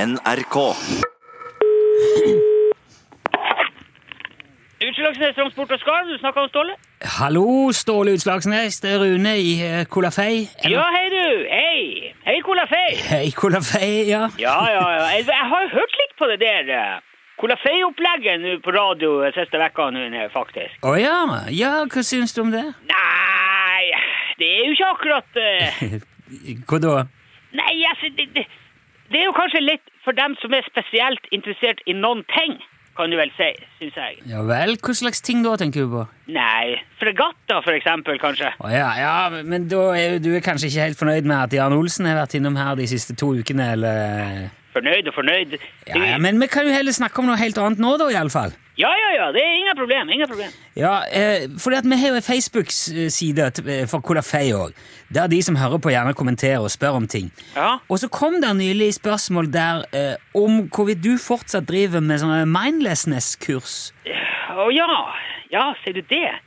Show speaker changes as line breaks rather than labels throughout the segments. NRK.
Utslagsnes Transport og Skarv, du snakker om Ståle?
Hallo, Ståle Utslagsnes. Det er Rune i eh, Kolafei.
Ja, hei du! Hei! Hei, Kolafei!
Hei, Kolafei, ja.
Ja, ja, ja. Jeg, jeg har hørt litt på det der eh, Kolafei-opplegget nå på radio eh, siste vekka nå, eh, faktisk.
Å ja. ja, hva syns du om det?
Nei, det er jo ikke akkurat eh,
Hva da?
Nei, altså, det, det, det er jo kanskje litt for dem som er spesielt interessert i noen ting, kan du vel si, syns jeg.
Ja vel, hva slags ting da, tenker du på?
Nei, fregatta for eksempel, kanskje.
Å ja, ja, men da er jo du er kanskje ikke helt fornøyd med at Jan Olsen har vært innom her de siste to ukene, eller
Fornøyd og fornøyd.
ja, ja, Men vi kan jo heller snakke om noe helt annet nå, da, iallfall.
ja, ja, ja, det er ingen problem, ingen problem.
Ja, eh, fordi at vi har jo en Facebook-side t- eh, for Kolafei òg, der de som hører på, gjerne kommenterer og spør om ting.
Ja.
Og så kom det nylig spørsmål der eh, om hvorvidt du fortsatt driver med sånne mindlessness-kurs.
Å ja, ja, ser du det?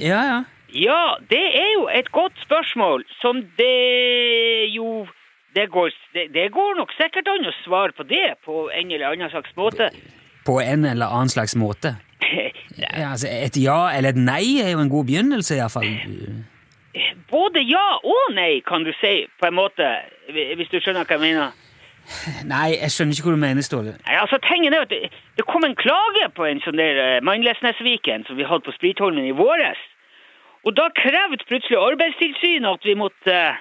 Ja, ja.
Ja, det er jo et godt spørsmål, som det jo Det går, det, det går nok sikkert an å svare på det på en eller annen slags måte.
På en eller annen slags måte. Ja, altså, et ja eller et nei er jo en god begynnelse, iallfall.
Både ja og nei, kan du si, på en måte, hvis du skjønner hva jeg mener.
Nei, jeg skjønner ikke hva du mener, Ståle.
Nei, altså, tingen er at det, det kom en klage på en sånn der eh, Mindlessnesviken som vi hadde på Spritholmen i våres. Og da krevde plutselig Arbeidstilsynet at vi måtte eh,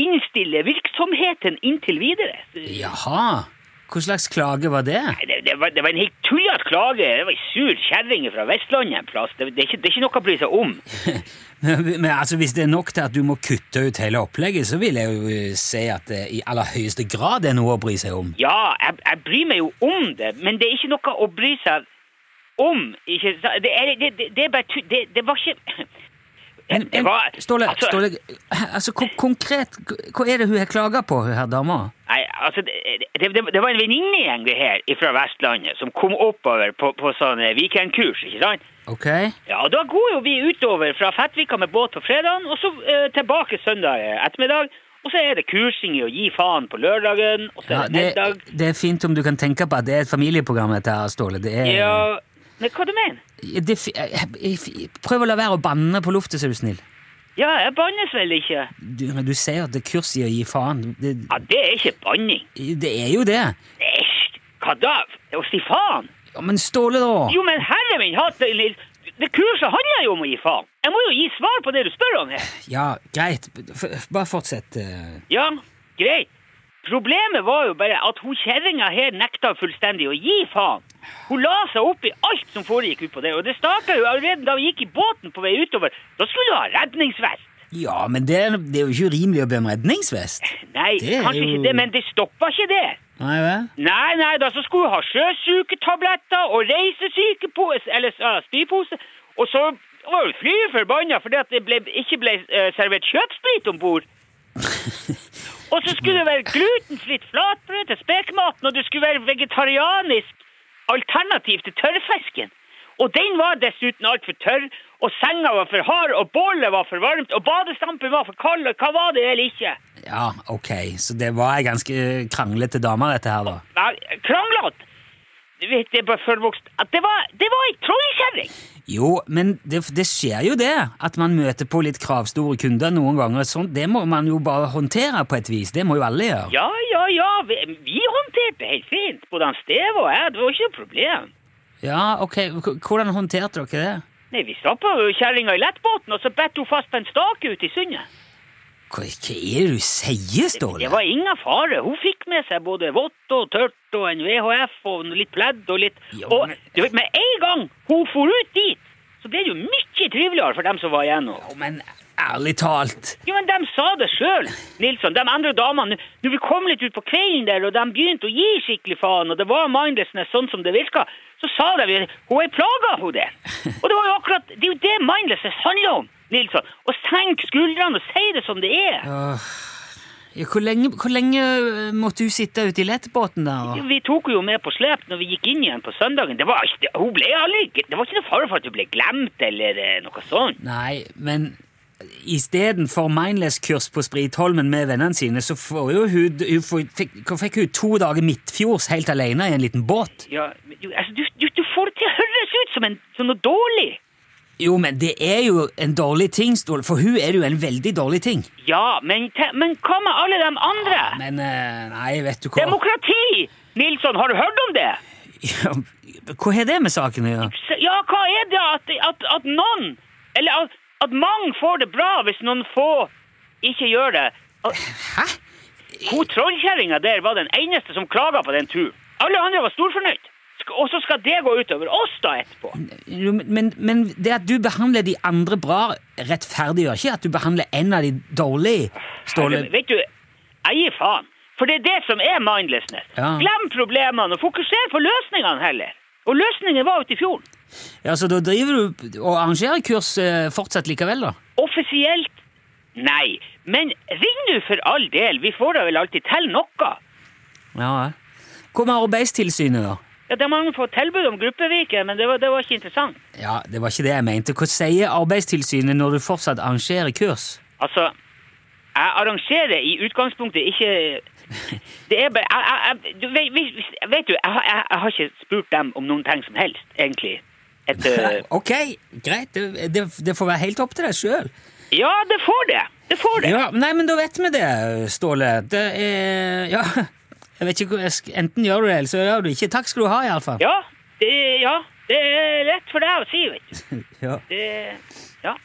innstille virksomheten inntil videre.
Jaha. Hva slags klage var det?
Nei, Det, det, var, det var en helt tullete klage. Det var ei sur kjerring fra Vestlandet en plass. Det, det, er ikke, det er ikke noe å bry seg om.
Men, men altså, Hvis det er nok til at du må kutte ut hele opplegget, så vil jeg jo eh, si at det i aller høyeste grad er noe å bry seg om.
Ja, jeg, jeg bryr meg jo om det, men det er ikke noe å bry seg om. Ikke, sa- det, er, det, det, det er bare tu- det, det var ikke
Men,
Det
men,
var-
Ståle,
altså-
Ståle altså, ko- konkret, hva er det hun har klaga på, hun her dama?
Nei, altså, det, det, det, det var en venninnegjeng det her fra Vestlandet som kom oppover på, på sånn eh, weekendkurs, ikke sant?
Ok?
Ja, og da går jo vi utover fra Fettvika med båt på fredagen, og så eh, tilbake søndag eh, ettermiddag. Og så er det kursing i å gi faen på lørdagen, og så
Ja,
er det
det,
middag.
det er fint om du kan tenke på at det er et familieprogram, dette her, Ståle. Det er,
Ja, men hva du mener?
det, er fi- eh, eh, fi- prøv å la være å banne på luftet, så er du snill.
Ja, jeg bannes vel ikke.
Du, men du sier at det er kurs i å gi faen. Det,
Ja, det er ikke banning.
det er jo det.
Æsj, hva da? Å si faen?
Ja, men Ståle, da!
Jo, men herre min hatt, Nils. Det kurset handler jo om å gi faen. Jeg må jo gi svar på det du spør om her.
Ja, greit. F- Bare fortsett. eh.
Ja, greit. Problemet var jo bare at hun kjerringa her nekta fullstendig å gi faen. Hun la seg opp i alt som foregikk utpå der, og det starta jo allerede da vi gikk i båten på vei utover. Da skulle hun ha redningsvest.
Ja, men det er, det er jo ikke urimelig å be om redningsvest.
Nei,
Det er
kanskje
jo-
ikke det, men det stoppa ikke det.
Nei vel?
Nei, nei, da så skulle hun ha sjøsyketabletter og reisesykepose, eller ja, spypose, og så var hun fly forbanna fordi at det ble, ikke ble eh, servert kjøpsprit om bord. og så skulle det være glutenfritt flatbrød til spekematen, og det skulle være vegetarianisk alternativ til tørrfisken. Og den var dessuten altfor tørr, og senga var for hard, og bålet var for varmt, og badestampen var for kald, og hva var det eller ikke?
Ja, ok. Så det var ei ganske kranglete dame, dette her, da.
Nei, kranglete. Du vet, det er bare forvokst. At det var, det var ei trollkjerring!
Jo, men det, det skjer jo det, at man møter på litt kravstore kunder noen ganger. Sånn, det må man jo bare håndtere på et vis. Det må jo alle gjøre.
Ja, ja, ja, vi, vi håndterte det helt fint. Både han Steve og jeg, det var ikke noe problem.
Ja, ok. H- Hvordan håndterte dere det?
Nei, vi stappa kjerringa i lettbåten, og så bet hun fast på en stake ute i sundet.
Hva, hva er det du sier,
Det
Ståle?
var ingen fare. Hun fikk med seg både vått og tørt og en VHF og litt pledd og litt
Ja,
Og
men-
du vet, med en gang hun for ut dit, så ble det jo mye triveligere for dem som var igjen. nå.
Å, Men ærlig talt
Jo, men de sa det sjøl, Nilsson. De andre damene. Når vi kom litt ut på kvelden der, og de begynte å gi skikkelig faen, og det var mindlessness sånn som det virka, så sa de hun er plaga, hun der. Og det var jo akkurat Det er jo det mindlessness handler om, Nilsson. Å senke skuldrene og si det som det er.
ja, hvor, lenge, hvor lenge eh, måtte du sitte ute i lettbåten der? da?
Vi tok henne jo med på slep når vi gikk inn igjen på søndagen. Det var ikke, hun ble aldri, det var ikke noe fare for at hun ble glemt eller eh, noe sånt.
Nei, men istedenfor Mindless-kurs på Spritholmen med vennene sine, så får jo hun, hun får, fikk, fikk hun to dager midtfjords helt alene i en liten båt.
Ja, men du, altså, du, du, du får det til å høres ut som, en, som noe dårlig.
Jo, men det er jo en dårlig ting, Ståle, for hun er jo en veldig dårlig ting.
Ja, men, te, men hva med alle de andre?
Men eh, nei, vet du hva
Demokrati! Nilsson, har du hørt om det?
Ja, Hva har det med saken å gjøre?
Så- Ja, hva er det at, at, at noen Eller at, at mange får det bra hvis noen få ikke gjør det? At-
Hæ?
Hun trollkjerringa der var den eneste som klaga på den turen. Alle andre var storfornøyd. Sk- Og så skal det gå utover oss da etterpå.
Jo, men- Men, men det at du behandler de andre bra, rettferdiggjør ikke at du behandler en av de dårlig, Ståle.
Eller, Vet du, jeg gir faen. For det er det som er mindlessness.
Ja.
Glem problemene og fokuser på løsningene heller. Og løsningen var ute i fjorden.
Ja, Så da driver du og arrangerer kurs eh, fortsatt likevel, da?
Offisielt nei. Men ring nå for all del, vi får da vel alltid til noe.
Ja, ja. Hva med Arbeidstilsynet, da?
Ja, De har fått tilbud om gruppevike, men det var, det var ikke interessant.
Ja, Det var ikke det jeg mente. Hva sier Arbeidstilsynet når du fortsatt arrangerer kurs?
Altså, jeg arrangerer i utgangspunktet ikke Det er bare jeg, jeg, jeg, du, vet, hvis- vet du, jeg, har- jeg, jeg har ikke spurt dem om noen ting som helst, egentlig. Et, øh,
Ok, greit. Det, det, det får være helt opp til deg sjøl.
ja, det får det. Det får det.
Ja, nei, men da vet vi det, Ståle. Det er Ja. Jeg vet ikke, hva jeg sk- Enten gjør du det, eller så gjør du det ikke. Takk skal du ha, iallfall.
Ja, det, ja, det er lett for deg å si, vet du.
Ja.
Det, ja.